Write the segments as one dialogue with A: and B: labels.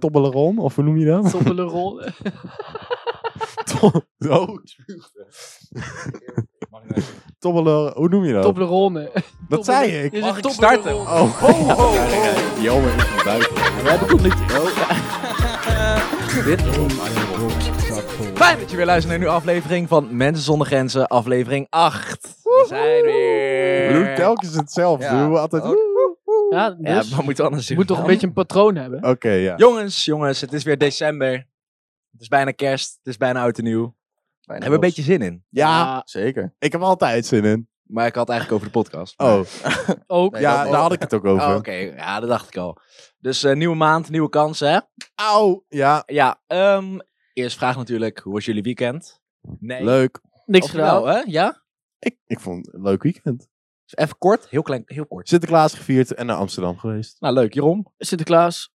A: Tobbeleron, of hoe noem je dat?
B: Soppelen rollen.
A: To- oh,
C: Mag ik even-
A: tobbele- hoe noem je dat?
B: Toblerone.
A: dat zei ik.
B: Dit is
C: Mag ik
B: een
C: starten?
B: Toblerone.
A: Oh, oh,
C: Ja,
A: oh.
C: nee, nee, Jelmer is een buiten. Oh. We hebben tot nu toe. Dit
D: Fijn dat je weer luistert naar een nieuwe aflevering van Mensen zonder Grenzen, aflevering 8. We zijn weer.
A: We doen telkens hetzelfde.
D: Ja.
A: We doen altijd...
D: Ook.
B: Ja,
D: Ja,
B: dus
D: maar moet anders
B: je
D: doen
B: moet toch een
D: dan?
B: beetje een patroon hebben.
A: Oké, ja.
D: Jongens, jongens, het is weer december. Het is bijna kerst, het is bijna oud en nieuw. We hebben we een beetje zin in.
A: Ja,
C: Zeker.
A: ik heb er altijd zin in.
D: Maar ik had het eigenlijk over de podcast.
A: Oh,
B: Ook.
C: Nee,
A: ja,
C: dat-
A: daar had ik het ook over.
D: Oh, Oké, ja, dat dacht ik al. Dus eh, nieuwe maand, nieuwe kansen, hè?
A: Auw. Ja,
D: Ja, ehm, eerst vraag natuurlijk, hoe was jullie weekend? Nee.
A: leuk.
B: Niks
D: Of wel,
B: gedaan.
D: hè? Ja?
A: Ik, ik vond het een leuk weekend.
D: Dus Even kort, heel klein, heel kort.
A: Sinterklaas gevierd en naar Amsterdam geweest.
D: Nou, leuk. Jeroen?
B: Sinterklaas.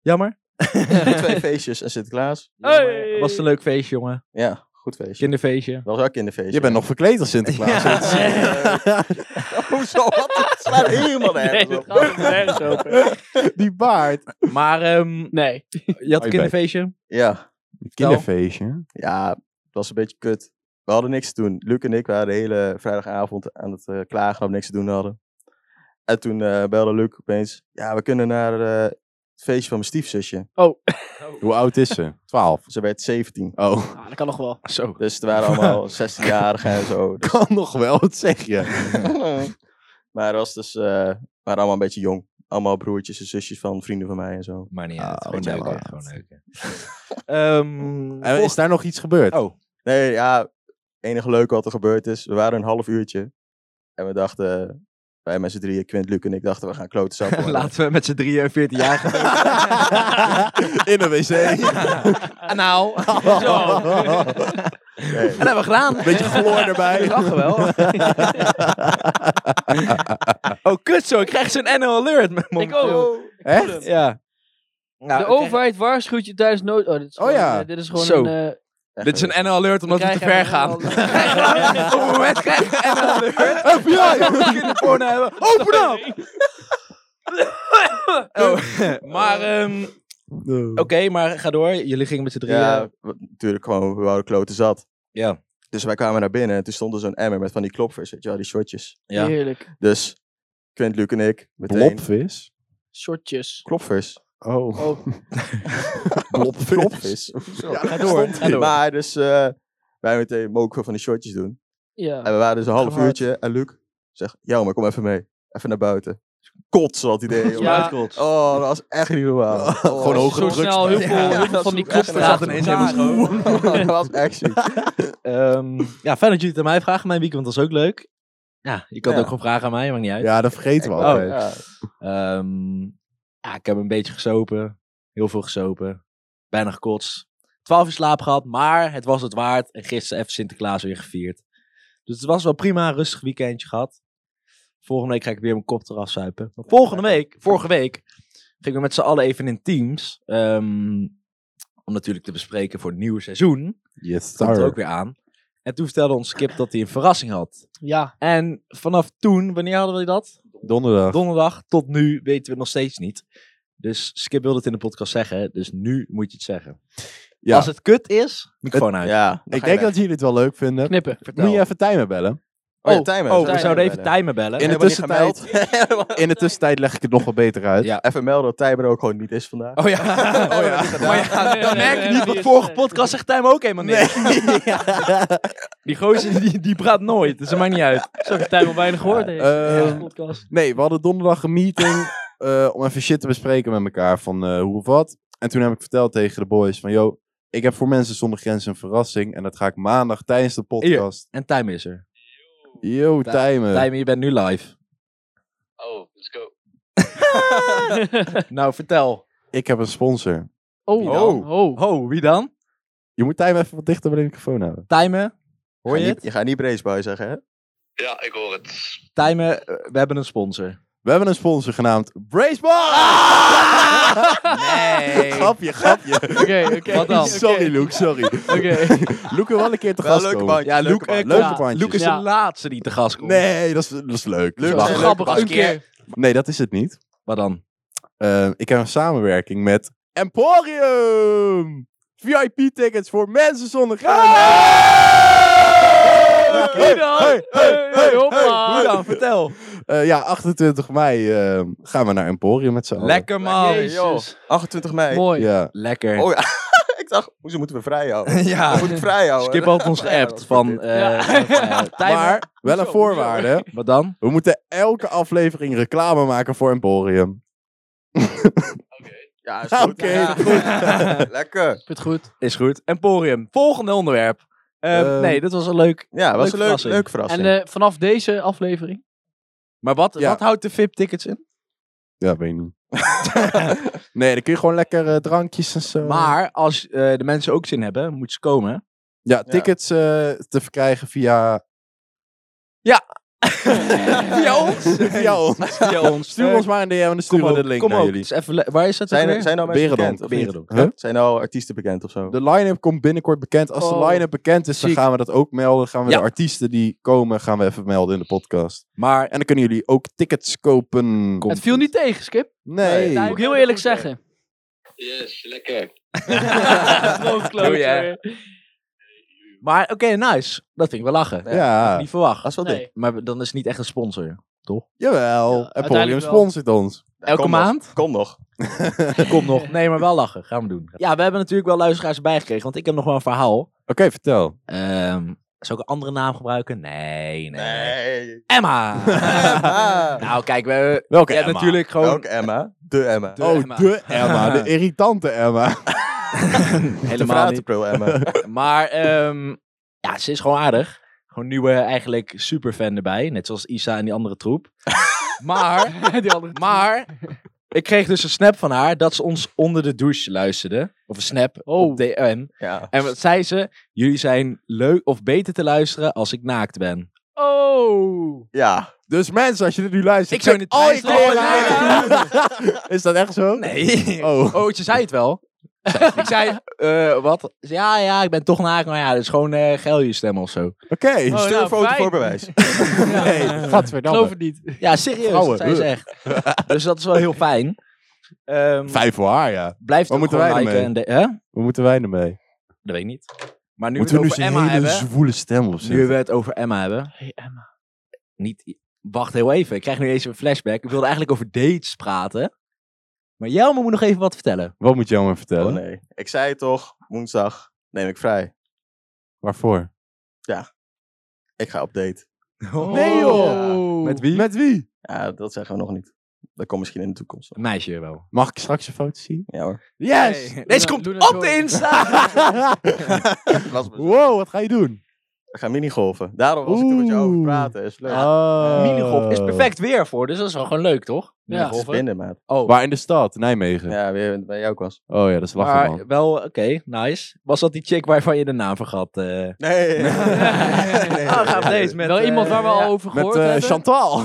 D: Jammer.
C: Twee feestjes en Sinterklaas.
B: Hey.
D: Was het een leuk feestje, jongen?
C: Ja, goed feestje.
D: Kinderfeestje.
C: Dat was ook kinderfeestje.
A: Je bent nog verkleed als Sinterklaas.
D: Ja.
C: Hoezo? Wat? Het slaat helemaal
B: Nee,
C: nergens
B: dat
C: op.
B: gaat helemaal nergens over.
A: Die baard.
D: Maar ehm,
B: Nee.
D: je had
A: Hoi,
D: een kinderfeestje.
C: Ja.
A: Kinderfeestje.
C: Ja, het was een beetje kut. We hadden niks te doen. Luc en ik waren de hele vrijdagavond aan het eh, klagen dat we niks te doen hadden. En toen eh, belde Luc opeens. Ja, we kunnen naar eh, het feestje van mijn stiefzusje.
A: Hoe oud is ze? Twaalf.
C: Ze werd 17.
A: Oh.
B: Ah, dat kan nog wel.
D: Zo.
C: Dus het waren allemaal 16-jarigen en zo. Dus- eh,
A: Kan nog wel, wat zeg je?
C: maar dat was dus, eh, waren allemaal een beetje jong. Allemaal broertjes en zusjes van vrienden van mij en zo.
D: Maar niet
A: Ah,
D: uit. Gewoon
A: wat
D: leuk.
A: jammer.
D: hè, Gewoon leuk. hè. Oh, Ehm,
A: En is
D: volg-
A: daar nog iets gebeurd?
D: Oh,
C: Nee, ja, het enige leuke wat er gebeurd is, we waren een half uurtje. En we dachten, wij met z'n drieën, Quint, Luc en ik, dachten we gaan kloten sappen worden.
D: laten we met z'n drieën 14 jaar gaan.
A: In een wc.
D: Ah, nou. Zo.
A: Zo.
C: Nee,
D: En dat hebben we gedaan.
A: Beetje chloor erbij.
D: Ik lachen wel. oh, kut zo. Ik krijg zo'n NL alert.
B: Ik ook.
A: Echt?
D: Ja.
B: De
D: Nou, ik krijg-
B: overheid waarschuwt je tijdens nood... Oh, dit is
A: Oh
B: gewoon,
A: ja.
B: eh, dit is gewoon
D: Zo.
B: een... eh,
C: echt
D: Dit is
C: niet.
D: een NL alert omdat we, te ver gaan.
B: krijgen
D: Op
B: een-
D: het moment krijg je een NL alert.
A: FBI!
D: We kunnen porno hebben. Open up! Oh, maar, ehm, oké, maar ga door. Jullie gingen met z'n drieën.
C: Ja, we- natuurlijk gewoon, we waren kloten zat.
D: Ja.
C: Dus wij kwamen naar binnen en toen stond er zo'n emmer met van die klopvers, weet je wel, die shotjes.
D: ja.
B: Heerlijk.
C: Dus Quint, Luc en ik, meteen...
A: Blobvis?
B: Shortjes.
C: Klopvers.
A: Oh.
B: Oh,
A: Blobvis.
C: Blobvis.
D: Ja, ga door. Ga door.
C: Maar dus eh, wij meteen mogen van die shotjes doen.
B: ja.
C: En we waren dus een half
A: Gewaard.
C: uurtje. En Luc zegt, ja, maar kom even mee. Even naar buiten. Dus Kotsen had idee. jongen.
B: Ja.
C: Oh, dat was echt niet normaal. Oh,
A: Gewoon hoge
B: Zo
A: drugs.
B: snel heel
C: Ja,
B: veel, heel
C: dat
B: veel van
C: is
B: die
C: echt
B: kloppen zaten
D: een
B: in elkaar.
C: dat was echt ziek.
D: Ehm, ja, fijn dat jullie het aan mij vragen. Mijn weekend was ook leuk. Ja, je kan
C: Ja.
D: het ook gewoon vragen aan mij, maakt niet uit.
A: Ja, dat vergeten we
C: Oh,
A: altijd.
C: ja.
D: Ehm, ja, ik heb een beetje gesopen. Heel veel gesopen. Bijna gekotst. 12 uur slaap gehad, maar het was het waard. En gisteren even Sinterklaas weer gevierd. Dus het was wel prima, een rustig weekendje gehad. Volgende week ga ik weer mijn kop eraf zuipen. Maar volgende week, vorige week, gingen we met z'n allen even in teams. ehm, om natuurlijk te bespreken voor het nieuwe seizoen.
A: Yes,
D: Dat komt er
A: sir.
D: ook weer aan. En toen vertelde ons Skip dat hij een verrassing had.
B: Ja,
D: En vanaf toen, wanneer hadden we dat?
A: Donderdag.
D: donderdag tot nu weten we het nog steeds niet. Dus Skip wilde het in de podcast zeggen, dus nu moet je het zeggen.
A: Ja.
D: Als het kut is, microfoon uit.
C: Ja, dan
A: ik
C: ga je
A: denk dat jullie het wel leuk vinden.
B: knippen.
D: Vertel.
A: Moet je even Tijmen bellen?
C: weg. Oh,
D: Oh,
C: ja, timer.
D: Oh,
C: Timer
D: we zouden even
C: bellen.
D: timer bellen.
A: In de
C: Helemaal niet gemeld.
A: tussentijd, in de tussentijd leg ik het nog wel beter uit.
D: Ja.
C: even melden dat timer ook gewoon niet is vandaag.
D: Oh ja.
C: Oh ja.
D: Maar ja,
B: Nee, nee,
D: dan merk
B: nee,
D: je niet,
B: die
D: want
B: is-
D: vorige
B: nee.
D: podcast zegt Tim ook helemaal niks. Die gozer, die, die praat nooit, dus dat maakt niet uit.
B: Zo heb ik tijd al weinig gehoord deze
A: Ehm,
B: podcast.
A: Nee, we hadden donderdag een meeting eh, om even shit te bespreken met elkaar van eh, hoe of wat. En toen heb ik verteld tegen de boys van, yo, ik heb voor mensen zonder grenzen een verrassing. En dat ga ik maandag tijdens de podcast.
D: En Tim is er.
A: Yo,
D: Tij-
A: Tijmen.
D: Tim, Eh. je bent nu live.
E: Oh, let's go.
D: Nou, vertel.
A: Ik heb een sponsor.
B: Oh,
D: nou?
C: dan?
B: oh.
D: Ho, wie dan?
A: Je moet Tijmen even wat dichter bij de microfoon houden.
D: Timer, hoor
C: Ga
D: je
C: niet-
D: het?
C: Je gaat niet Braceboy zeggen, hè?
E: Ja, ik hoor het.
D: Timer, eh, we hebben een sponsor.
A: We hebben een sponsor genaamd Braceball!
D: Nee.
A: grapje, grapje.
B: Oké, oké.
D: Wat dan?
A: Sorry, Luke, sorry.
B: Oké.
A: Luke wil wel een keer te
C: Wel
A: gast
C: leuke
A: komen.
C: bandjes,
D: Ja,
C: leuke
D: Luke, eh,
C: bandjes.
A: Leuke
B: Ja.
A: bandjes.
D: Luke is
B: Ja.
D: de laatste die te gast komt.
A: Nee, dat is, dat is leuk.
C: Leuk.
A: Dat is lachen.
B: Grappig,
C: Leuke
B: een keer.
A: Nee, dat is het niet.
D: Wat dan?
A: Ehm, Eh, ik heb een samenwerking met Emporium! VIP-tickets voor mensen zonder grenzen.
D: Ah!
B: Hoe dan?
A: Hey,
B: Hey, hey, hoppa.
D: Hoe dan? Vertel.
A: Eh, ja, 28 mei eh, gaan we naar Emporium met z'n allen.
D: Lekker man.
B: Jezus.
C: 28 mei.
B: Mooi.
A: Ja.
D: Lekker.
C: Oh ja, ik dacht, hoezo moeten we vrijhouden?
D: ja.
C: We moeten vrijhouden.
D: Skip had ons geappt van... eh eh, Tijmen,
A: Maar wel een
B: Hoezo?
A: voorwaarde.
D: Wat dan?
A: We moeten elke aflevering reclame maken voor Emporium.
C: Ja, is
A: Oké.
C: goed. Ja. Lekker.
B: Ik vind het goed.
D: Is goed. Emporium. Volgende onderwerp. Eh,
A: Ehm,
D: nee, dit was een leuk.
C: Ja,
D: Leuke
C: was een leuk,
D: verrassing.
C: leuk verrassing.
B: En eh, vanaf deze aflevering.
D: Maar wat,
A: Ja.
D: wat houdt de VIP-tickets in?
A: Ja, weet ik niet. nee, dan kun je gewoon lekker eh, drankjes en zo.
D: Maar als eh, de mensen ook zin hebben, moeten ze komen.
A: Ja, tickets eh, te verkrijgen via,
D: Via ons.
A: via ons.
D: Via ons.
A: Stuur ons maar een DM en dan sturen we
D: op,
A: de link
D: kom
A: naar
D: ook.
A: jullie.
D: Het is even le- waar is dat
C: zijn,
D: ook
C: er,
D: weer?
C: zijn er al mensen
A: Berendonk.
C: bekend? of niet?
D: Berendonk.
A: Huh?
C: Zijn er al artiesten bekend of zo?
A: De line-up komt binnenkort bekend. Als de
B: Oh.
A: line-up bekend is, dan
D: Ziek.
A: gaan we dat ook melden. Dan gaan we
D: Ja.
A: de artiesten die komen, gaan we even melden in de podcast.
D: Maar
A: En dan kunnen jullie ook tickets kopen.
D: Komt
B: Het viel niet tegen, Skip.
A: Nee.
B: Dat moet ik heel eerlijk zeggen.
E: Yes, lekker.
B: Groot klootzak.
D: Doe je. Maar oké, nice. Dat vind ik wel lachen.
A: Ja,
D: Niet verwacht.
C: Dat is wel
B: Nee.
C: dik.
D: Maar dan is het niet echt een sponsor.
A: jawel.
B: Ja,
A: en Podium
B: uiteindelijk wel.
A: sponsort ons.
D: Elke
C: Kom
D: maand?
C: Nog. Kom nog.
D: Kom nog. Nee, maar wel lachen. Gaan we doen. Ja, we hebben natuurlijk wel luisteraars bijgekregen. Want ik heb nog wel een verhaal.
A: Oké, vertel.
D: Ehm zou ik een andere naam gebruiken? Nee, nee. nee.
C: Nee.
D: Emma!
C: Emma.
D: nou, kijk, we,
A: Welke
D: je hebt
A: Emma?
D: natuurlijk gewoon...
C: Ook Emma. De Emma.
D: De
A: oh,
D: Emma.
A: de Emma. De irritante Emma.
D: helemaal niet.
C: pro Emma.
D: Maar ehm, ja, ze is gewoon aardig. Gewoon nieuwe, eigenlijk superfan erbij. Net zoals Isa en die andere troep. maar,
B: Die andere
D: maar, ik kreeg dus een snap van haar dat ze ons onder de douche luisterde. Of een snap op DM.
C: ja.
D: En wat zei ze? Jullie zijn leuk of beter te luisteren als ik naakt ben.
B: Oh.
D: nou,
C: ja.
A: Dus mensen, als je dit nu luistert,
D: Ik zou
A: check
D: in de
A: al je
D: trein
A: kleren
D: staan.
A: uit. Is dat echt zo?
D: Nee. Oh,
A: Oh.
D: ze zei het wel. ik zei, eh, wat? Ze zei, Ja, ja, ik ben toch naakt. Maar ja, dat is gewoon eh geil je stem of zo.
A: Oké.
B: Oh,
C: Stuur
B: nou,
C: een foto
B: fijn.
C: voor bewijs.
A: Nee,
B: Ik geloof
A: gadverdamme.
B: het niet.
D: Ja, serieus.
A: Vrouwen,
D: dat zei ze
A: huh.
D: echt. dus dat is wel heel fijn. Ehm,
A: Vijf voor haar, ja.
D: Blijf
A: Wat
D: ook
A: moeten
D: gewoon
A: wij
D: liken. En
A: ermee?
D: de, hè?
A: Hoe moeten wij ermee?
D: Dat weet ik niet. Maar nu
A: Moeten we
D: we
A: nu
D: het over
A: zijn
D: Emma
A: hele
D: hebben.
A: zwoele stem op
D: Nu we het over Emma hebben.
B: Hey, Emma.
D: Niet, i- wacht heel even. Ik krijg nu eens een flashback. Ik wilde eigenlijk over dates praten. Maar Jelme moet nog even wat vertellen.
A: Wat moet jij maar vertellen?
C: Oh nee. Ik zei het toch, woensdag neem ik vrij.
A: Waarvoor?
C: Ik ga op date.
D: Oh.
A: Nee, joh.
B: Oh.
D: Met wie?
A: Met wie?
C: Ja, dat zeggen we nog niet. Dat komt misschien in de toekomst. wel.
D: Een meisje wel.
A: Mag ik straks een foto zien?
C: Ja hoor.
A: Yes!
B: Hey,
D: Deze
B: Luna-
D: komt
B: Luna
D: op
B: Joy.
D: de Insta!
A: wow, wat ga je doen?
C: We gaan minigolven. Daarom was ik toen met jou over
A: Oeh.
C: praten. Is leuk.
A: Oh.
D: Minigolf is perfect weer voor, dus dat is wel gewoon leuk, toch?
B: Ja.
C: Het is
D: Minigolven.
C: binnen, maat.
D: Oh,
A: Waar in de stad? Nijmegen.
C: Ja, weer bij jou was.
A: Oh ja, dat is lachen, man.
D: maar wel, oké, nice. Was dat die chick waarvan je de naam vergat? eh?
C: Nee.
A: Ah,
D: Oh, gaan we deze met...
B: Wel
D: eh,
B: iemand waar we al
D: ja.
B: over
A: Met
B: gehoord
A: eh,
B: hebben.
A: Chantal.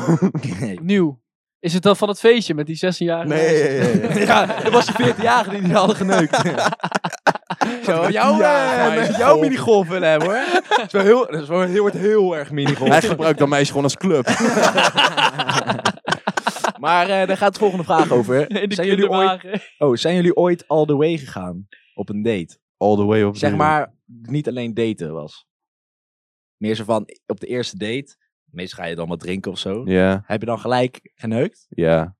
B: Nieuw. Is het dan van het feestje met die 16-jarige?
C: Nee, nee, nee, nee.
D: ja, dat was die 14-jarige die die hadden geneukt. Zo, jouw,
A: Ja,
D: eh,
A: maar-
D: jouw minigolf willen hebben hoor. Dat is wel heel, dat is wel heel, wordt heel erg
A: Hij
D: minigolf.
A: gebruikt dat meisje gewoon als club.
D: maar eh, daar gaat de volgende vraag over.
B: In de
D: Zijn jullie, ooit,
B: kinderwagen.
D: oh, zijn jullie ooit all the way gegaan op een date?
A: All the way op
D: Zeg
A: de-
D: maar, niet alleen daten was. Meer zo van, op de eerste date, meestal ga je dan wat drinken of zo.
A: Ja,
D: Heb je dan gelijk geneukt?
A: ja.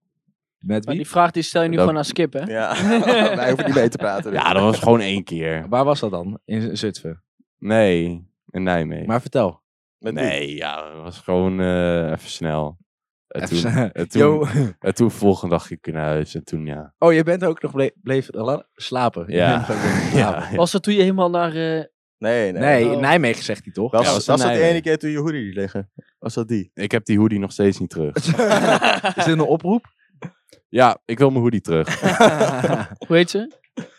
D: Met
B: Maar die
D: wie?
B: vraag die stel je nu
A: Dat-
B: gewoon aan Skip, hè?
C: Ja, wij hoeven niet mee te praten. dus.
A: Ja, dat was gewoon één keer.
D: Waar was dat dan? In Zutphen.
A: Nee, in Nijmegen.
D: Maar vertel.
C: Met wie?
A: nee, ja, dat was gewoon eh, even snel. En Eh, toen, en toen,
D: Yo.
A: en toen volgende dag ging ik naar huis. En toen, ja.
D: Oh, je bent ook nog ble- bleef la- slapen. Je
A: Ja.
D: bent ook nog slapen.
A: ja, ja.
B: Was dat toen je helemaal naar... eh,
C: Nee, nee.
D: Nee,
B: Oh.
D: in Nijmegen zegt hij toch?
C: Was,
A: Ja, was
C: was,
A: in
C: dat de
A: Nijmegen.
C: ene keer toen je hoodie liet liggen? Was dat die?
A: Ik heb die hoodie nog steeds niet terug.
D: Is dit een oproep?
A: Ja, ik wil mijn hoodie terug.
B: hoe heet ze?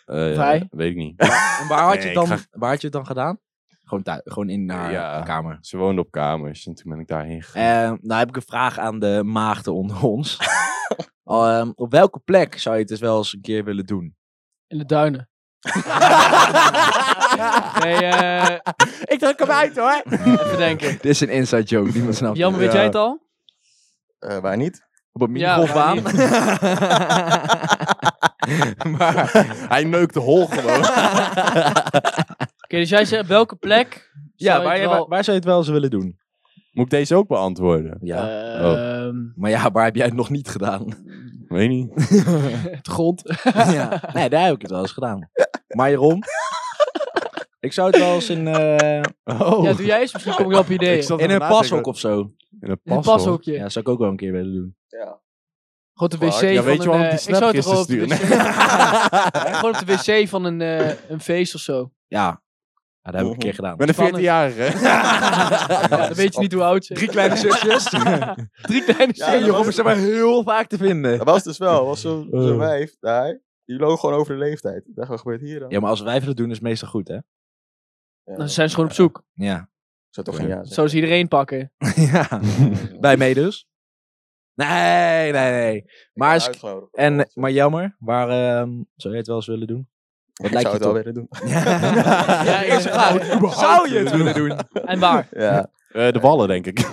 A: Eh,
B: Vrij?
A: Weet ik niet.
D: en waar had,
A: Nee,
D: je
A: ik
D: dan,
A: ga-
D: waar had je het dan gedaan? Gewoon, thui- gewoon in haar
A: Ja.
D: kamer.
A: Ze woonde op kamers en toen ben ik daarheen gegaan.
D: Eh, nou heb ik een vraag aan de maagden onder ons. Ehm, op welke plek zou je het dus wel eens een keer willen doen?
B: In de duinen. Nee, eh,
A: ik druk hem uit hoor.
B: even denken.
D: Dit is een inside joke, niemand snapt het.
B: Jammer, weet
A: Ja.
B: jij het al?
C: Eh, waar niet?
D: Op een
B: Ja,
D: minigolfbaan?
A: maar hij neukte hol gewoon.
B: dus jij zegt, op welke plek?
D: ja,
B: zou je
D: waar,
B: het
D: je-
B: wel-
D: waar, waar zou je het wel eens willen doen?
A: Moet ik deze ook beantwoorden?
D: Ja.
B: Ehm,
D: maar ja, waar heb jij het nog niet gedaan?
A: Weet niet.
B: Het grond.
D: ja. Nee, daar heb ik het wel eens gedaan. Maar Jeroen, ik zou het wel eens in, eh,
A: Oh.
B: Ja, doe jij eens. Misschien kom ik wel op ideeën.
A: Ik zat
D: in
A: even
D: een
A: na te denken.
D: pashok of zo.
A: In een
B: In een
A: pashok?
B: pashokje.
D: Ja, zou ik ook wel een keer willen doen.
B: Gewoon op de
C: Fuck.
B: wc
C: Ja,
A: Ja,
B: van
A: weet je
B: een...
A: waarom
B: eh,
A: ik die
B: ik zou het
A: snapkisten
B: gewoon op de
A: sturen?
B: wc Gewoon op de wc van een, eh, een feest of zo.
D: Ja, Ja, dat heb ik een keer gedaan.
A: Met een 14-jarige.
B: Ja, dan weet je niet hoe oud ze
D: Drie kleine zusjes.
B: Drie kleine
C: Ja,
B: zeeën.
C: Jeroen
D: Jeroen is maar heel vaak te vinden.
C: Dat was dus wel, was zo'n
D: Eh.
C: zo wijf daar. Die loog gewoon over de leeftijd. Ik dacht, wat gebeurt hier dan?
D: Ja, maar als wij dat doen is het meestal goed, hè?
C: Ja,
B: Dan zijn ze gewoon op zoek.
D: Ja.
C: zou toch geen ja zeggen.
B: Zo ze iedereen pakken.
D: ja. Bij mee dus? Nee, nee, nee. Maar, is-
C: Uitgenodigd.
D: en, maar jammer, waar ehm, zou je het wel eens willen doen?
C: ik
D: lijkt je
C: zou het wel
D: toch?
C: willen doen.
B: Ja, eerste vraag.
D: Zou je het willen doen?
B: En waar?
C: Ja,
A: Eh, de ballen, denk ik.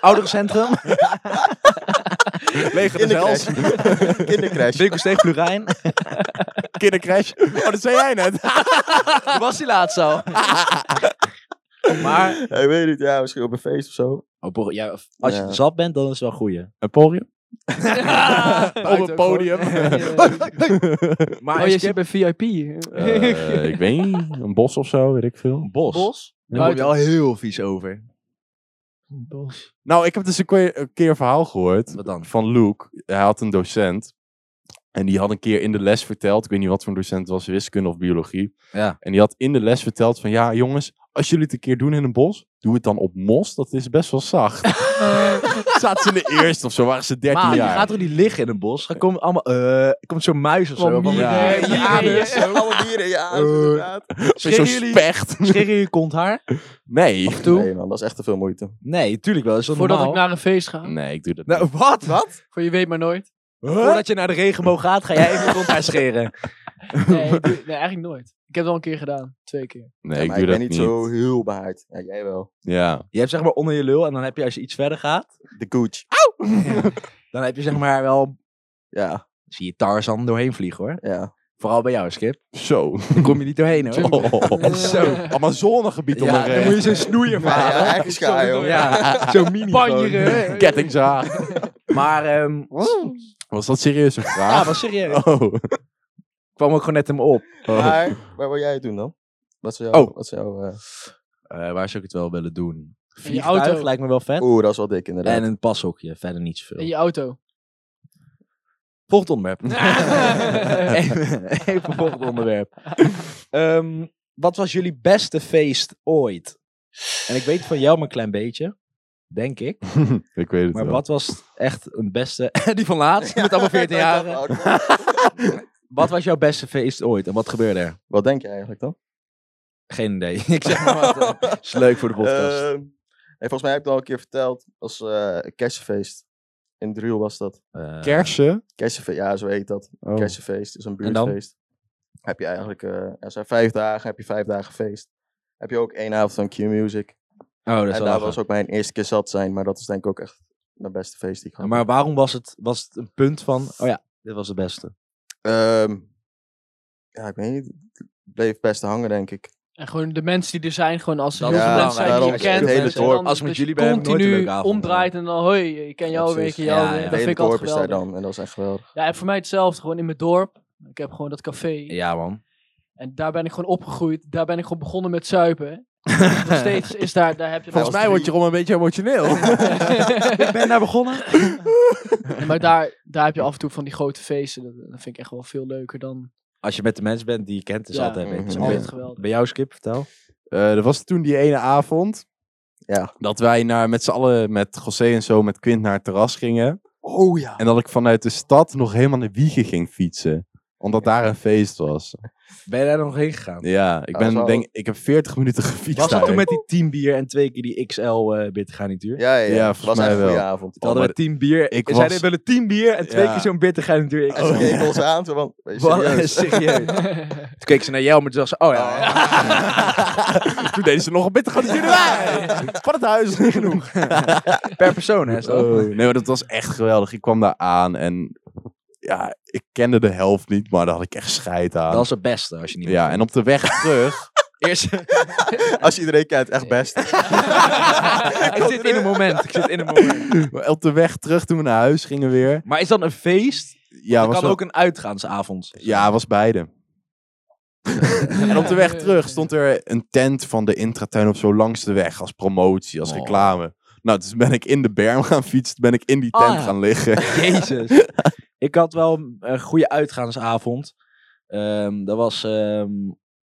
D: Ouderencentrum,
A: Lege de zels.
C: kindercrash.
D: Winkelsteeg Plurijn.
A: Kindercrash. Oh, dat zei jij net.
D: Was die laatst al? maar
C: Ja, ik weet niet, ja, misschien op een feest of zo.
D: oh, Bor- ja, of- als je
C: Ja.
D: zat bent, dan is het wel een goeie.
A: Een podium?
D: Ah,
B: Ja.
A: Op een podium.
B: eh,
D: Maar
B: Oh,
D: als
B: je
D: je
B: zit bij VIP.
A: Eh, ik weet niet. Een bos of zo, weet ik veel.
D: een bos,
B: Bos.
D: dan kom je wel heel vies over.
A: Nou, ik heb dus een keer, een keer een verhaal gehoord.
D: Wat dan?
A: van Luke. Hij had een docent. En die had een keer in de les verteld. Ik weet niet wat voor een docent het was, wiskunde of biologie.
D: Ja.
A: En die had in de les verteld van ja, jongens, als jullie het een keer doen in een bos, doe het dan op mos. Dat is best wel zacht. Zaten ze in de eerste of zo, waren ze 13
D: Maar je
A: jaar.
D: gaat toch niet liggen in een bos? Dan komen allemaal, eh, komt zo'n muis of zo.
B: Kom hier.
A: Ja.
B: hè, Ja, ja.
C: dus. Alle dieren, ja. dus
D: Eh.
C: inderdaad.
A: Met zo'n
D: Scheren jullie-
A: specht.
D: Scheren je konthaar?
A: Nee.
B: Toe.
C: Nee man, dat is echt te veel moeite.
D: Nee, tuurlijk wel. Is dat
B: Voordat ik
D: normaal?
B: naar een feest ga.
A: Nee, ik doe dat
D: Nou, wat? Wat?
B: Voor je weet maar nooit.
D: Voordat je naar de regenboog gaat, ga jij even konthaar scheren.
B: Nee, ik doe- nee, eigenlijk nooit. Ik heb het al een keer gedaan. Twee keer.
A: niet. Nee,
C: Ja,
A: ik
C: maar
A: doe
C: ik ben
A: dat
C: niet
A: niet.
C: zo heel behaard. Ja, jij wel.
A: Ja.
D: Je hebt zeg maar onder je lul en dan heb je als je iets verder gaat,
C: De gooch.
D: dan heb je zeg maar wel,
C: Ja,
D: zie je Tarzan doorheen vliegen hoor.
C: ja.
D: Vooral bij jou Skip,
A: Zo.
D: dan kom je niet doorheen hoor.
A: Oh.
D: Zo.
A: Amazonegebied om
D: Ja, dan moet je zo'n snoeier
C: Maar ja,
D: varen.
C: eigen schaar, joh.
D: Ja, zo mini
B: Panjeren.
D: gewoon.
B: hè.
A: Kettingzaag.
D: Maar, ehm
A: Was dat serieus een
D: ja,
A: vraag?
D: was serieus.
A: Oh.
D: kwam ook gewoon net hem op.
A: Oh.
C: Maar, waar wil jij het doen dan? Wat zou jou...
D: Oh.
C: Wat zou jou, eh,
D: Eh, waar zou ik het wel willen doen?
B: In je
D: Vliegtuig
B: auto.
D: lijkt me wel vet.
C: Oeh, dat is wel dik inderdaad.
D: En een pashokje, verder niet zoveel.
B: In je auto.
D: Volgend onderwerp. even, even volgend onderwerp. Ehm, wat was jullie beste feest ooit? En ik weet van jou maar een klein beetje. Denk ik.
A: ik weet het
D: Maar
A: wel.
D: wat was echt een beste... Die van laatst, met allemaal 14 jaar. Wat was jouw beste feest ooit? En wat gebeurde er?
C: Wat denk je eigenlijk dan?
D: Geen idee. Ik zeg maar wat. eh, Is leuk voor de podcast.
C: Ehm, nee, volgens mij heb ik het al een keer verteld. als eh een kersenfeest. In Driel was dat.
D: Eh,
A: Kersen?
C: Kersenfeest, ja, zo heet dat.
A: Oh.
C: Kersenfeest is een
D: En dan?
C: buurtfeest. Heb je eigenlijk, eh er zijn vijf dagen, heb je vijf dagen feest. Heb je ook één avond van Q-Music.
D: Oh, dat is
C: En
D: wel
C: daar
D: lachen.
C: was ook mijn eerste keer zat zijn, maar dat is denk ik ook echt mijn beste feest die ik
D: Ja,
C: had.
D: Maar waarom was het, was het een punt van... Oh ja, dit was de beste.
C: Ehm, ja, ik weet niet. Het bleef best hangen, denk denk ik.
B: En gewoon de mensen die er zijn, gewoon als er
D: Dat
B: heel
C: is
B: veel mensen
C: belangrijk.
B: zijn die je
C: Daarom is
B: kent.
C: het hele
B: en
C: dorp.
B: dan
D: Als we
B: dat
D: met jullie
B: je
D: bij hebben, nooit een
B: continu
D: leuke avond.
B: omdraait en dan hoi, ik ken jou weer, ik ken
C: Ja,
B: jou
D: ja,
B: weer.
D: ja.
B: Dat
C: Het
B: vind
C: hele
B: ik altijd
C: dorp is daar
B: geweldig.
C: dan en dat is echt geweldig.
B: Ja, en voor mij hetzelfde, gewoon in mijn dorp. Ik heb gewoon dat café.
D: Ja, man.
B: En daar ben ik gewoon opgegroeid. Daar ben ik gewoon begonnen met zuipen. Nog steeds is daar, daar heb je...
A: Volgens mij
C: was drie.
A: wordt Jeroen een beetje emotioneel.
D: ik ben daar begonnen.
B: maar daar, daar heb je af en toe van die grote feesten. Dat, dat vind ik echt wel veel leuker dan...
D: Als je met de mensen bent die je kent, is
B: Ja.
D: altijd beter.
C: Mhm.
B: Ik
C: Ja.
B: vind het geweldig.
D: Bij jou, Skip, vertel.
A: Eh dat was toen die ene avond.
C: Ja.
A: Dat wij naar, met z'n allen, met José en zo, met Quint naar het terras gingen.
C: Oh ja.
A: En dat ik vanuit de stad nog helemaal naar Wiegen ging fietsen. Omdat daar een feest was.
D: Ben je daar nog heen gegaan?
A: Ja, ik,
C: Ja, dat is
A: ben,
C: wel-
A: denk, ik heb 40 minuten gefietst.
D: Was dat toen
A: daar.
D: met die 10 bier en twee keer die XL eh bittergarnituur?
C: Ja, ja,
A: Ja,
C: ja. Het
A: volgens
C: was
A: mij
C: echt een goede
A: wel.
C: avond.
D: Toen hadden we 10 bier.
A: ik
D: Oh, Ik zei,
A: was-
D: we willen 10 bier en twee
A: Ja.
D: keer zo'n bittergarnituur XL.
C: En ze keken ons aan, zo van, ben je
D: Wat
C: serieus?
D: serieus. Toen keek ze naar jou, maar toen dacht ze, oh ja. ja.
A: toen deden ze nog een bitter gaan natuurlijk wij. Van het huis is niet genoeg.
D: Per persoon, hè. is dat?
A: Oh, nee, maar dat was echt geweldig. Ik kwam daar aan en ja, ik kende de helft niet, maar daar had ik echt scheid aan.
D: Dat is het beste als je niet
A: Ja, en op de weg terug.
D: Eerst...
C: Als iedereen kijkt, echt best.
D: ik zit in een moment. Ik zit in een moment.
A: maar op de weg terug toen we naar huis gingen weer.
D: Maar is dat een feest?
A: Ja,
D: dat
A: was
D: kan
A: wel-
D: ook een uitgaansavond.
A: Ja, was beide. En op de weg terug stond er een tent van de intratuin op zo langs de weg. Als promotie, als
D: Oh.
A: reclame. Nou, dus ben ik in de berm gaan fietsen. Ben ik in die
D: Ah,
A: tent
D: ja.
A: gaan liggen.
D: Jezus. ik had wel een eh, goede uitgaansavond. Ehm dat was, ehm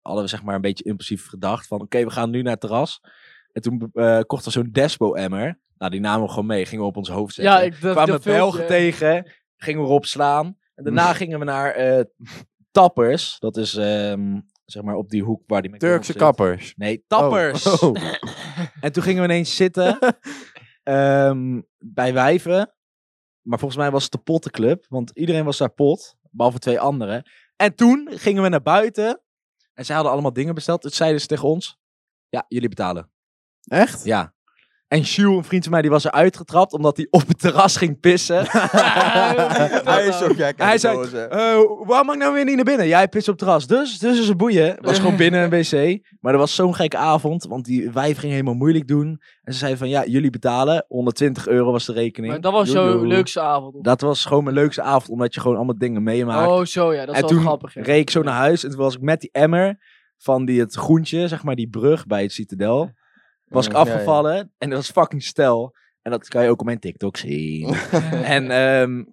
D: hadden we zeg maar een beetje impulsief gedacht van, oké, we gaan nu naar het terras. En toen eh, kochten we zo'n Despo-emmer. Nou, die namen we gewoon mee, gingen we op ons hoofd zetten.
B: Ja, ik dat,
D: kwamen
B: dat
D: we Belgen
B: filmpje.
D: tegen, gingen we erop slaan. En
A: Mm.
D: daarna gingen we naar eh, Tappers. Dat is ehm, zeg maar op die hoek waar die McDonald's
A: Turkse
D: zit.
A: kappers.
D: Nee, Tappers.
A: Oh. Oh.
D: En toen gingen we ineens zitten ehm, bij wijven. Maar volgens mij was het de pottenclub, want iedereen was daar pot, behalve twee anderen. En toen gingen we naar buiten en zij hadden allemaal dingen besteld. Toen zeiden ze tegen ons, ja, jullie betalen.
A: Echt?
D: Ja. En Sjoe, een vriend van mij, die was er uitgetrapt omdat hij op het terras ging pissen.
C: Hij is ook, ja, kijk,
D: Hij zei-
C: gozer.
D: Eh, waarom mag ik nou weer niet naar binnen? Jij pist op het terras. Dus, dus is het boeien. was gewoon binnen een wc. Maar dat was zo'n gekke avond. Want die wijf ging helemaal moeilijk doen. En ze zei van, ja, jullie betalen. 120 euro was de rekening.
B: Maar dat was
D: Joejoe.
B: zo'n leukste avond.
D: Dat was gewoon mijn leukste avond. Omdat je gewoon allemaal dingen meemaakt.
B: Oh, zo ja, dat is
D: en
B: wel
D: toen
B: grappig. ja.
D: reed ik zo naar huis. En toen was ik met die emmer van die, het groentje, zeg maar die brug bij het Citadel. Was ik
C: Ja, ja.
D: afgevallen. En dat was fucking stel. En dat kan je ook op mijn TikTok zien. En ehm,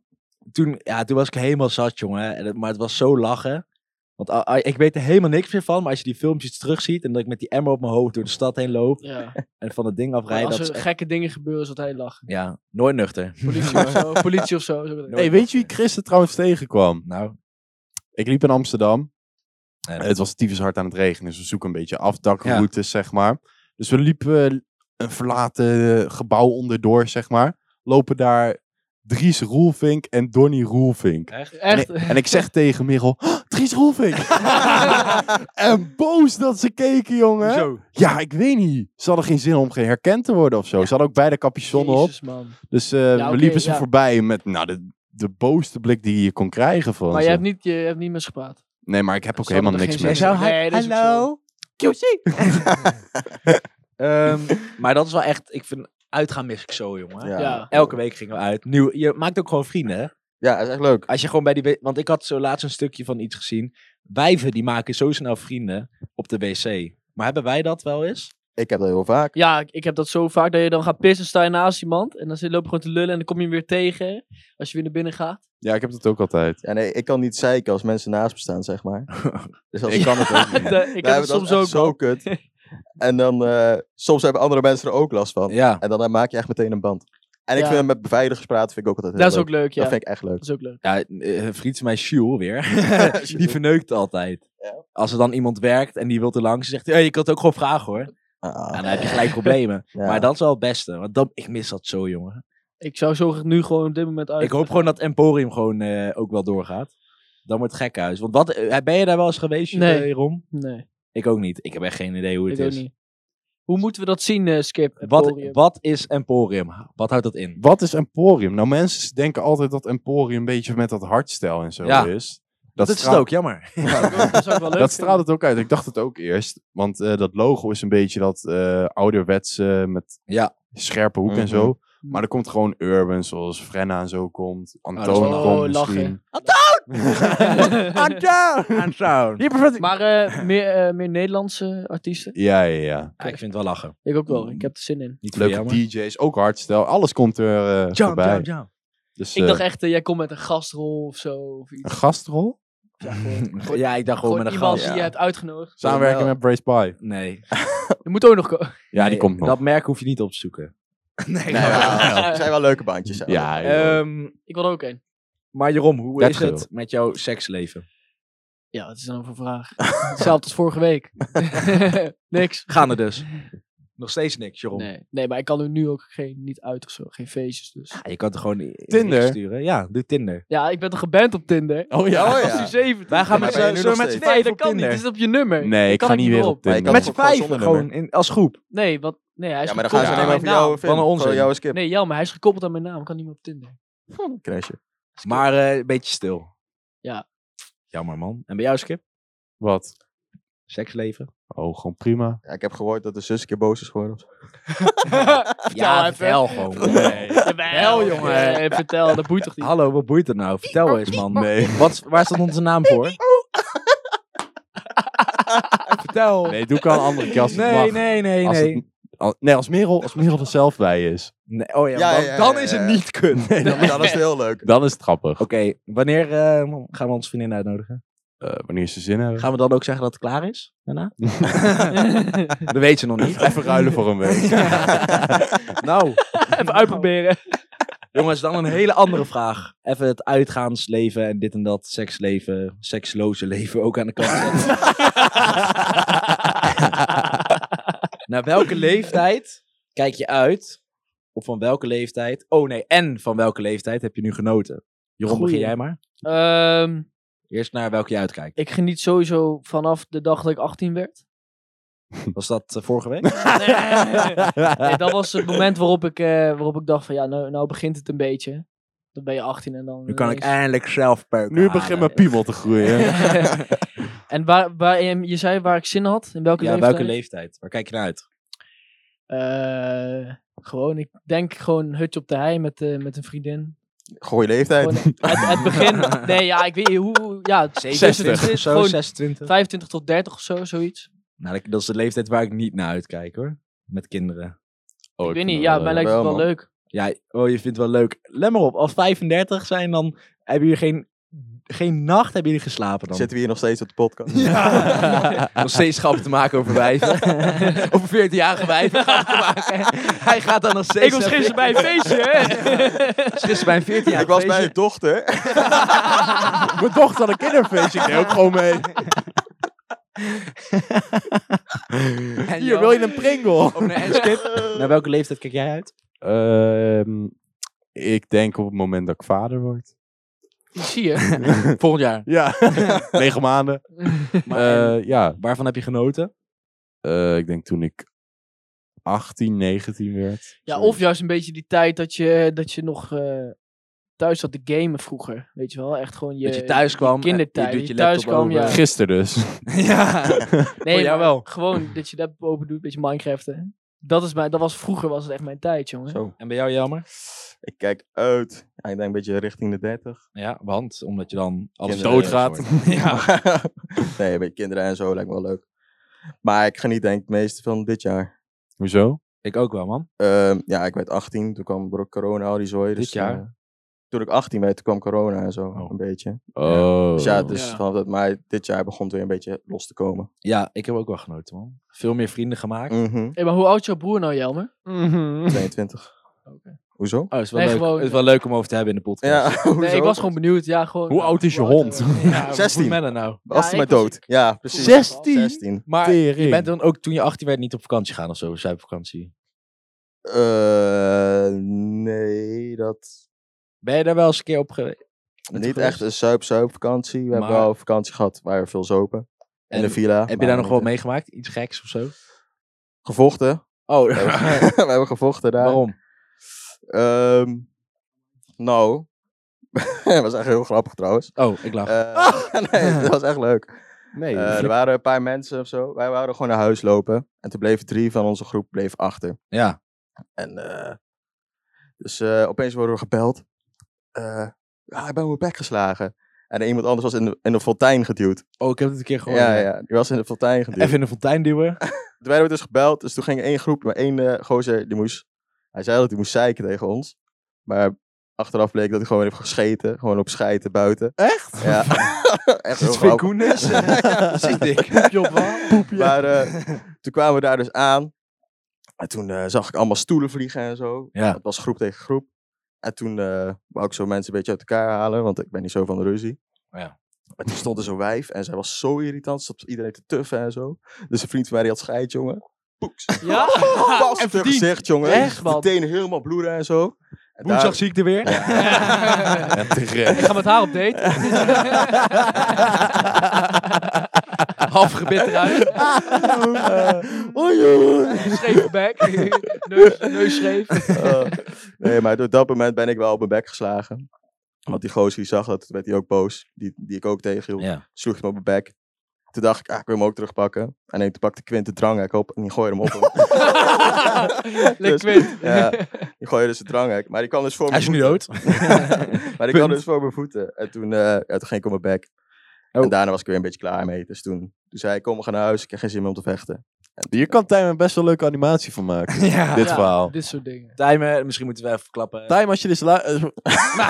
D: toen, ja, toen was ik helemaal zat, jongen. En het- maar het was zo lachen. Want ah, ah, ik weet er helemaal niks meer van. Maar als je die filmpjes terugziet en dat ik met die emmer op mijn hoofd door de stad heen loop
B: Ja.
D: en van dat ding
B: Maar
D: afrijd,
B: Als
D: dat is
B: er
D: echt-
B: gekke dingen gebeuren, is dat heel lachen.
D: ja, nooit nuchter.
B: Politie of zo. Politie of zo.
A: Hey, weet je wie ik gisteren trouwens tegenkwam?
D: Nou,
A: Ik liep in Amsterdam.
D: Ja.
A: Het was tyfus hard aan het regenen, dus we zoeken een beetje afdakroutes, zeg maar. Dus we liepen een verlaten eh, gebouw onderdoor, zeg maar. Lopen daar Dries Roelvink en Donny Roelvink.
B: Echt.
A: En, ik, en ik zeg tegen Merel, "Oh, Dries Roelvink! en boos dat ze keken, jongen.
D: zo.
A: Ja, ik weet niet. Ze hadden geen zin om geherkend te worden of zo. Ze hadden ook beide capuchon op.
B: Jezus, man.
A: Dus eh,
B: oké,
A: we liepen ze
B: ja.
A: voorbij met nou, de, de boosste blik die je kon krijgen van
B: Maar
A: ze.
B: je hebt niet, je hebt niet met ze gepraat.
A: Nee, maar ik heb ook
B: Ze hadden
A: helemaal
B: er
A: niks
B: geen
A: mee.
B: zin in. Nee, dat is ook zo.
D: Ehm, maar dat is wel echt, ik vind, uitgaan mis ik zo, jongen.
C: Ja.
B: Ja.
D: Elke week gingen we uit. Nieuw, je maakt ook gewoon vrienden, hè?
C: Ja, dat is echt leuk.
D: Als je gewoon bij die... we- Want ik had zo laatst een stukje van iets gezien. Wijven, die maken zo snel vrienden op de wc. Maar hebben wij dat wel eens?
C: Ik heb dat heel vaak.
B: Ja, ik- ik heb dat zo vaak dat je dan gaat pissen, sta je naast iemand en dan zit- loop je gewoon te lullen en dan kom je hem weer tegen als je weer naar binnen gaat.
A: Ja, ik heb dat ook altijd.
C: Ja, nee, ik kan niet zeiken als mensen naast me staan, zeg maar. Dus als
A: Ik kan het ook
B: De-
A: niet.
B: ik
C: Wij
B: heb het
C: hebben
B: soms
C: dat
B: ook.
C: echt zo
B: man.
C: kut. En dan, eh, soms hebben andere mensen er ook last van.
D: Ja.
C: En dan eh, maak je echt meteen een band. En ik
B: Ja.
C: vind met beveiligers praten vind ik ook altijd heel
B: Dat is
C: leuk.
B: ook leuk, ja.
C: Dat
B: Dat
C: vind ik echt leuk.
B: is ook leuk.
D: ja eh, een vriend van mij, Sjoel, weer. die
C: Sjoel.
D: verneukt altijd.
C: Ja.
D: Als er dan iemand werkt en die wil te langs, zegt hij... "Hey, je kan het ook gewoon vragen, hoor.
C: Ah,
D: Ja, dan heb je gelijk problemen.
C: ja.
D: Maar dat is wel het beste. Want dat, ik mis dat zo, jongen.
B: Ik zou zo graag nu gewoon op dit moment uit.
D: Ik hoop gewoon dat Emporium gewoon eh, ook wel doorgaat. Dan wordt het gekkenhuis. Want wat, eh, ben je daar wel eens geweest,
B: Nee.
D: eh, Ron?
B: Nee,
D: Ik ook niet. Ik heb echt geen idee hoe
B: ik
D: het
B: ook
D: is.
B: niet. Hoe moeten we dat zien, eh, Skip?
D: Wat,
B: Emporium?
D: wat is Emporium? Wat houdt dat in?
A: Wat is Emporium? Nou, mensen denken altijd dat Emporium een beetje met dat hardstijl en zo
D: Ja.
A: is.
D: Dat, is
A: straalt-
D: het ook, jammer.
B: dat zou ik wel leuk
A: Dat straalt
B: vinden.
A: het ook uit. Ik dacht het ook eerst. Want eh, dat logo is een beetje dat eh ouderwetse met
D: Ja.
A: scherpe hoek en
C: Mhm.
A: zo. Maar er komt gewoon urban, zoals Frenna en zo komt.
D: dat is
A: Antoon
D: wel-
A: komt
B: Oh, lachen.
A: misschien.
D: Aan sound.
B: maar eh, meer, eh, meer Nederlandse artiesten?
A: Ja, ja, ja.
D: ik vind het wel lachen.
B: Ik ook wel, ik heb er zin in.
D: Niet
A: Leuke DJ's, ook hardstijl. Alles komt er eh,
D: Jump,
A: voorbij.
D: jump, jump.
A: Dus,
B: Ik
A: eh,
B: dacht echt, eh, jij komt met een gastrol of zo. Of
A: een
B: iets.
A: gastrol?
B: Ja, gewoon, gewoon-
D: Ja, ik dacht gewoon,
B: gewoon
D: met een
B: iemand
D: gast.
B: die je hebt uitgenodigd.
A: Samenwerking
C: wel.
A: met Brace Pie.
D: Nee.
B: Je moet ook nog komen.
A: Ja,
D: Nee,
A: die komt nog.
D: Dat merk hoef je niet op te zoeken. Nee,
C: Nee, ja, er
D: nou.
C: zijn wel leuke bandjes. zijn Oh, er.
A: Ja, joh.
D: Ehm,
B: Ik wil er ook een.
D: maar Jeroen, hoe is
A: 30
D: het
A: euro.
D: met jouw seksleven?
B: Ja, dat is dan voor vraag. Hetzelfde als vorige week. Niks.
D: Gaan er dus. Nog steeds niks, Jeroen.
B: Nee. nee, maar ik kan er nu ook geen, niet uit of zo. Geen feestjes dus.
D: Ja, je kan het gewoon in- in
A: Tinder?
D: niks sturen. Ja, doe Tinder.
B: Ja, ik ben toch geband op Tinder?
A: Oh
C: ja.
B: Ik was
C: ja.
B: nu 17.
D: Wij gaan
C: maar
D: met
C: ben je
D: z'n
C: nu
D: zullen we
C: nog
D: met z'n
C: steeds?
B: Nee,
D: vijf
B: dat
D: op
B: kan niet.
D: Tinder.
B: Dit is op je nummer.
A: Nee, ik
B: Daar
A: ga
B: kan
A: niet weer
B: meer
A: op
B: op.
C: Maar je
A: Tinder.
C: kan
A: Met
D: Met z'n
C: toch gewoon
D: vijf
C: zonder
D: gewoon
C: nummer?
D: in, als groep.
B: Nee, want, nee, hij is
C: Ja, maar dan gaan
B: gekoppeld
A: Ja.
B: aan
C: ze alleen maar
B: mijn
C: voor jou
B: naam.
C: vinden.
D: Wat een
C: Voor
D: onzin.
C: jou skip.
B: Nee, Jan, maar hij is gekoppeld aan mijn naam. Kan niet meer op Tinder.
C: Crashje.
D: Maar eh, een beetje stil.
B: Ja.
D: Jammer, man. En bij jou, Skip?
A: Wat?
D: Seksleven?
A: Oh, gewoon prima.
C: Ja, ik heb gehoord dat de zus een keer boos is geworden.
B: Vertel even.
D: vertel gewoon.
B: Wel, jongen. Eh, vertel, dat boeit toch niet?
D: Hallo, wat boeit het nou? Vertel eens, man. Nee. Wat, is- waar staat onze naam voor? vertel.
A: Nee, doe ik al een andere keer als het
D: nee,
A: mag.
D: nee, nee.
A: Als
D: nee.
A: het- al- nee, als Merel, als Merel er zelf bij is,
D: Nee, Oh ja,
C: Ja,
D: dan,
C: ja, ja,
D: dan
C: ja,
D: is
C: ja.
D: het niet kunnen.
A: Nee,
C: Ja, dat is het heel leuk.
A: dan is het grappig.
D: Oké, wanneer eh, gaan we onze vriendin uitnodigen?
A: Eh, wanneer ze zin hebben.
D: Gaan we dan ook zeggen dat het klaar is? Daarna? dat weet ze nog niet.
A: Even ruilen voor een week.
D: nou,
B: Even uitproberen.
D: jongens, dan een hele andere vraag. Even het uitgaansleven en dit en dat, seksleven, seksloze leven ook aan de kant zetten. Naar welke leeftijd kijk je uit? Of van welke leeftijd? Oh nee, en van welke leeftijd heb je nu genoten? Jeroen,
B: Goeie.
D: begin jij maar.
B: Ehm,
D: Eerst naar welke je uitkijkt.
B: ik geniet sowieso vanaf de dag dat ik 18 werd.
D: Was dat eh, vorige week?
B: Nee, dat was het moment waarop ik, eh, waarop ik dacht van ja, nou, nou begint het een beetje. Dan ben je 18 en dan...
D: Nu kan ik
B: ineens-
D: eindelijk zelf peuken
A: Nu begint mijn piemel te groeien.
B: en waar, waar, je, je zei waar ik zin had? In welke
D: Ja,
B: leeftijd?
D: welke leeftijd? Waar kijk je naar uit?
B: Eh, gewoon, ik denk gewoon hutje op de hei met, eh, met een vriendin.
C: Gooi leeftijd.
B: Gewoon, het, het begin... Nee, ja, ik weet niet hoe... Ja,
A: 60
B: is
D: Zo,
B: gewoon
D: 26.
B: 25 tot 30 of zo, zoiets.
D: Nou, dat- dat is de leeftijd waar ik niet naar uitkijk hoor. Met kinderen.
A: Oh,
B: ik weet niet,
A: vind
B: ja,
A: dat wel
B: mij
D: eh,
B: lijkt het
C: Wel,
B: wel
C: man.
B: leuk.
D: Ja, oh, je vindt het wel leuk. Let maar op, als 35 zijn, dan hebben jullie geen, geen nacht hebben jullie geslapen dan.
C: Zitten we hier nog steeds op de podcast?
D: Nog steeds grappen te maken over wijven. over 14-jarige wijven grappen te maken. Hij gaat dan nog steeds...
B: Ik was gisteren bij een feestje, hè?
D: Gisteren bij een 14-jarige
C: ik was bij
D: feestje.
C: je dochter.
A: leuk. Mijn dochter had een kinderfeestje. Ik deed ook gewoon mee.
D: En
A: Hier,
D: jou?
A: wil je een Pringle?
D: Oh, nee, en Skip, naar welke leeftijd kijk jij uit?
A: Ehm, ik denk op het moment dat ik vader word.
B: Zie je?
D: Volgend jaar.
A: Ja, negen maanden.
D: Maar,
A: Eh, ja,
D: Waarvan heb je genoten?
A: eh, ik denk toen ik 18, 19 werd.
B: Ja,
A: Zoiets.
B: of juist een beetje die tijd dat je, dat je nog eh, thuis zat te gamen vroeger. Weet je wel, echt gewoon je...
D: dat je thuis kwam.
B: kindertijd,
D: en Je doet je
B: die thuis
D: laptop
B: kwam,
D: open.
B: ja.
A: Gisteren dus.
D: ja.
B: Nee,
D: Oh, ja,
B: maar
D: wel.
B: Gewoon dat je dat open doet, een beetje Minecraften. Dat, is mijn, dat was vroeger was het echt mijn tijd, jongen.
C: Zo.
D: En bij jou jammer?
C: Ik kijk uit. Ja, ik denk een beetje richting de 30.
D: Ja, want omdat je dan alles
C: Kinderen
D: doodgaat.
C: Ja. nee, een beetje kinderen en zo lijkt me wel leuk. Maar ik geniet denk ik het meeste van dit jaar.
A: Hoezo?
D: Ik ook wel, man.
C: Ehm, ja, ik werd 18. Toen kwam bro- corona, al die zooi. Dus
D: Dit jaar?
C: eh, toen ik 18 werd, toen kwam corona en zo.
D: Oh.
C: Een beetje.
A: Oh.
C: Dus ja, dus
B: Ja.
C: vanaf dat mei dit jaar begon het weer een beetje los te komen.
D: Ja, ik heb ook wel genoten, man. Veel meer vrienden gemaakt.
C: Mhm.
B: Hey, maar hoe oud is jouw broer nou, Jelmer?
C: 22. Hoezo?
D: Oh, het is wel,
B: Nee,
D: leuk.
B: gewoon-
D: Het is wel leuk om over te hebben in de podcast.
C: Ja, hoezo?
B: Nee, ik was gewoon benieuwd. Ja, gewoon,
A: Hoe oud is je
B: hoe oud-
A: hond?
D: Ja, wat
C: 16.
D: moet men er nou?
C: Was
B: Ja,
C: hij
B: ik
C: maar
B: was-
C: dood? Ja, precies.
A: 16?
C: 16.
D: Maar je
A: Tering.
D: bent dan ook toen je 18 werd niet op vakantie gaan of zo, zuipvakantie.
C: Eh, nee, dat
D: Ben je daar wel eens een keer op geweest?
C: Niet echt een zuip-zuip vakantie. We hebben
D: Maar-
C: wel een vakantie gehad waar we veel zopen. In
D: En
C: de villa.
D: Heb je
C: maar
D: daar nog
C: niet
D: wel
C: echt.
D: meegemaakt? Iets geks of zo?
C: Gevochten.
D: Oh,
C: we hebben gevochten daar.
D: waarom?
C: Ehm, nou. dat was echt heel grappig trouwens.
D: Oh, ik lach.
C: Eh, nee, dat was echt leuk.
A: Nee.
C: Eh, er waren een paar mensen of zo. Wij wouden gewoon naar huis lopen. En toen bleven drie van onze groep bleven achter.
D: ja.
C: En eh, dus eh, opeens worden we gebeld. Eh ja, ik ben op mijn bek geslagen. En iemand anders was in de, in de fontein geduwd.
D: Oh, ik heb het een keer gehoord.
C: ja, ja, die was in de fontein geduwd.
D: Even in de fontein duwen.
C: Toen werden we dus gebeld. Dus toen ging één groep, maar één eh, gozer, die moest... Hij zei dat hij moest zeiken tegen ons. Maar achteraf bleek dat hij gewoon heeft gescheten. Gewoon op schijten buiten.
A: echt?
C: Ja. Echt heel
D: Twee
C: grappig.
D: koenis. Dat is dik. Poepje op wat?
C: Maar eh, toen kwamen we daar dus aan. En toen eh, zag ik allemaal stoelen vliegen en zo.
D: Ja.
C: Het was groep tegen groep. En toen eh wou ik zo mensen een beetje uit elkaar halen, want ik ben niet zo van de ruzie.
D: Oh ja.
C: Maar toen stond er zo'n wijf en zij was zo irritant. Ze zat iedereen te tuffen en zo. Dus een vriend van mij die had scheid, jongen. Poeks.
B: Ja?
C: Pas op haar gezicht, jongen.
B: Echt, man.
C: De tenen helemaal bloeden en zo. En
D: Woensdag
C: daar-
D: zie ik er weer.
A: En terecht.
B: ik ga met haar op date.
D: Half gebit eruit.
C: eh,
B: Schreef back. neus, neus schreef.
C: Eh, nee, maar door dat moment ben ik wel op mijn bek geslagen. Want die gozer die zag dat, toen werd hij ook boos. Die, die ik ook tegenhield.
D: Ja.
C: Sloeg hem op mijn bek. Toen dacht ik, ah, ik wil hem ook terugpakken. En toen pakte Quint de dranghek op en die gooide hem op hem.
B: Lekker
C: Dus-
B: Quint.
C: ja. Die gooide dus de dranghek. Maar die kwam dus voor
D: Hij
C: mijn
D: is nu
C: voeten.
D: dood.
C: maar ik
D: Punt.
C: kwam dus voor mijn voeten. En toen, eh, ja, toen ging ik op mijn bek.
D: Oh.
C: En daarna was ik weer een beetje klaar mee. Dus toen, toen zei ik, kom, we gaan naar huis. Ik heb geen zin meer om te vechten.
A: Hier kan Tijmen best wel leuke animatie van maken.
D: ja.
A: Dit
B: Ja,
A: verhaal.
B: Dit soort dingen.
D: Timer, misschien moeten we even klappen.
A: Tijmen, als je dit lu- eh,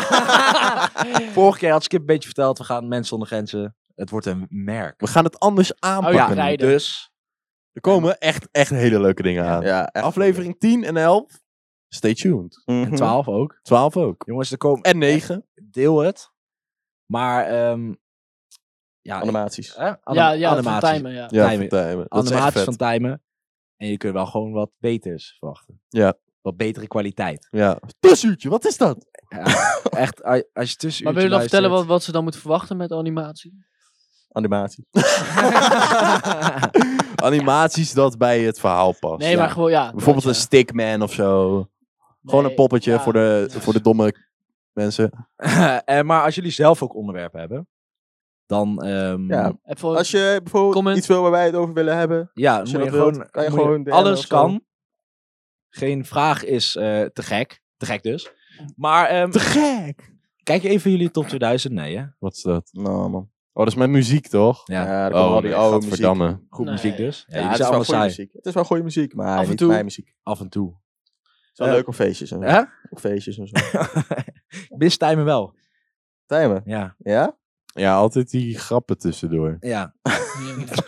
D: Vorige keer had Skip een beetje verteld, we gaan mensen zonder grenzen. Het wordt een merk.
A: we gaan het anders aanpakken.
B: Oh ja, rijden.
D: Dus,
A: er komen echt, echt hele leuke dingen aan.
C: Ja, echt.
A: Aflevering 10 en 11. Stay tuned.
C: Mhm.
D: en 12 ook.
A: 12 ook.
D: Jongens, er komen...
A: En 9.
D: Deel het. Maar, ehm ja,
C: Animaties.
D: hè? Anim-
B: ja, ja, van
D: animaties.
B: timen, ja.
A: Ja,
D: Tijmen.
A: van Tijmen. Dat is echt
D: animaties
A: vet.
D: van timen. En je kunt wel gewoon wat beters verwachten.
A: Ja.
D: Wat betere kwaliteit.
A: Ja. Tussenuurtje, wat is dat?
D: Ja, echt, a- als je tussen
B: Maar wil je dan vertellen wat, wat ze dan moeten verwachten met animatie?
C: Animatie.
A: Animaties dat bij het verhaal past.
B: Nee, maar gewoon, ja.
A: Bijvoorbeeld
B: dat,
A: een stickman of zo.
B: ja.
A: Gewoon
B: Nee,
A: een poppetje
B: ja,
A: voor, de,
B: ja.
A: voor de domme mensen.
D: en, Eh, maar als jullie zelf ook onderwerpen hebben, dan ehm
C: Ja,
B: En voor-
C: Als je bijvoorbeeld
B: Comment.
C: iets wil waar wij het over willen hebben.
D: Ja,
C: Als
D: moet
C: je
D: je
C: dat wilt,
D: gewoon,
C: kan je
D: moet je-
C: gewoon DM'en of
D: alles
C: zo.
D: kan. Geen vraag is eh, te gek. Te gek dus. Maar ehm,
A: Te gek!
D: kijk even jullie top 2000. Nee, hè?
A: Wat is dat?
C: Nou, man.
A: Oh, dat is mijn muziek, toch? Oh,
D: Ja, Oh,
C: Ja, daar komen al die oude muziek.
A: gadverdamme.
D: goed
B: Nee.
D: muziek dus. Ja,
C: Ja,
D: jullie zijn
C: het, is wel
D: allemaal
C: goede
D: saai.
C: muziek. het is wel goede muziek, maar
B: Af en
C: niet
B: toe.
C: mijn muziek.
D: Af en toe.
C: Het is wel
D: Ja.
C: leuk op feestjes en zo.
D: Hè?
C: Op feestjes en zo.
D: Mist timen wel.
C: Tijmen,
D: Ja.
C: ja?
A: Ja, altijd die grappen tussendoor.
B: Ja.
D: ja.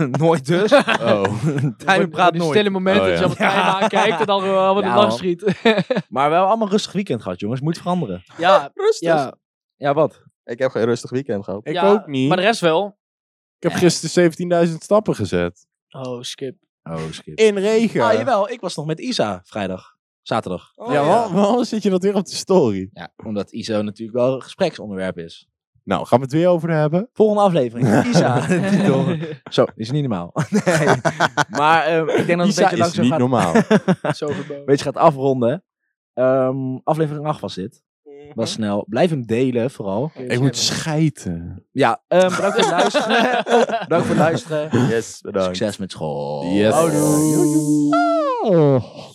D: nooit dus.
A: Oh.
D: timen praat
B: die
D: nooit.
B: stille momenten
A: Oh, ja.
B: dat je op het
D: Ja.
B: ja. aankijkt en dan gewoon wat
D: Ja,
B: in lach
D: man.
B: schiet.
D: Maar wel allemaal een rustig weekend gehad, jongens. Moet veranderen.
B: ja,
C: Rustig.
B: ja.
D: Ja, wat?
C: Ik heb geen rustig weekend gehad.
A: Ik
B: Ja,
A: ook niet.
B: Maar de rest wel.
A: Ik heb gisteren 17.000 stappen gezet.
B: Oh, skip.
D: Oh, skip.
A: In regen.
D: Ah, jawel. Oh, Ik was nog met Isa vrijdag. Zaterdag.
A: eh, Oh, ja, waarom, waarom zit je dat weer op de story?
D: Ja, omdat ISO natuurlijk wel een gespreksonderwerp is.
A: Nou, gaan we het weer over hebben?
D: Volgende aflevering. Isa. de titel. Zo, is niet normaal. Nee. Maar ehm, ik denk dat het een
A: Isa
D: beetje
A: is
D: langzaam
A: niet
D: gaat,
A: normaal.
B: Zo verboden.
D: een beetje gaat afronden. Ehm, aflevering 8 was dit.
A: Mhm.
D: Was snel. Blijf hem delen, vooral.
B: Oké,
A: Ik moet
B: skip.
A: schijten.
D: Ja, ehm, bedankt voor het luisteren. bedankt voor het luisteren.
C: Yes, bedankt.
D: Succes met school.
A: Yes.
D: Oh. Houdoe.
A: Oh.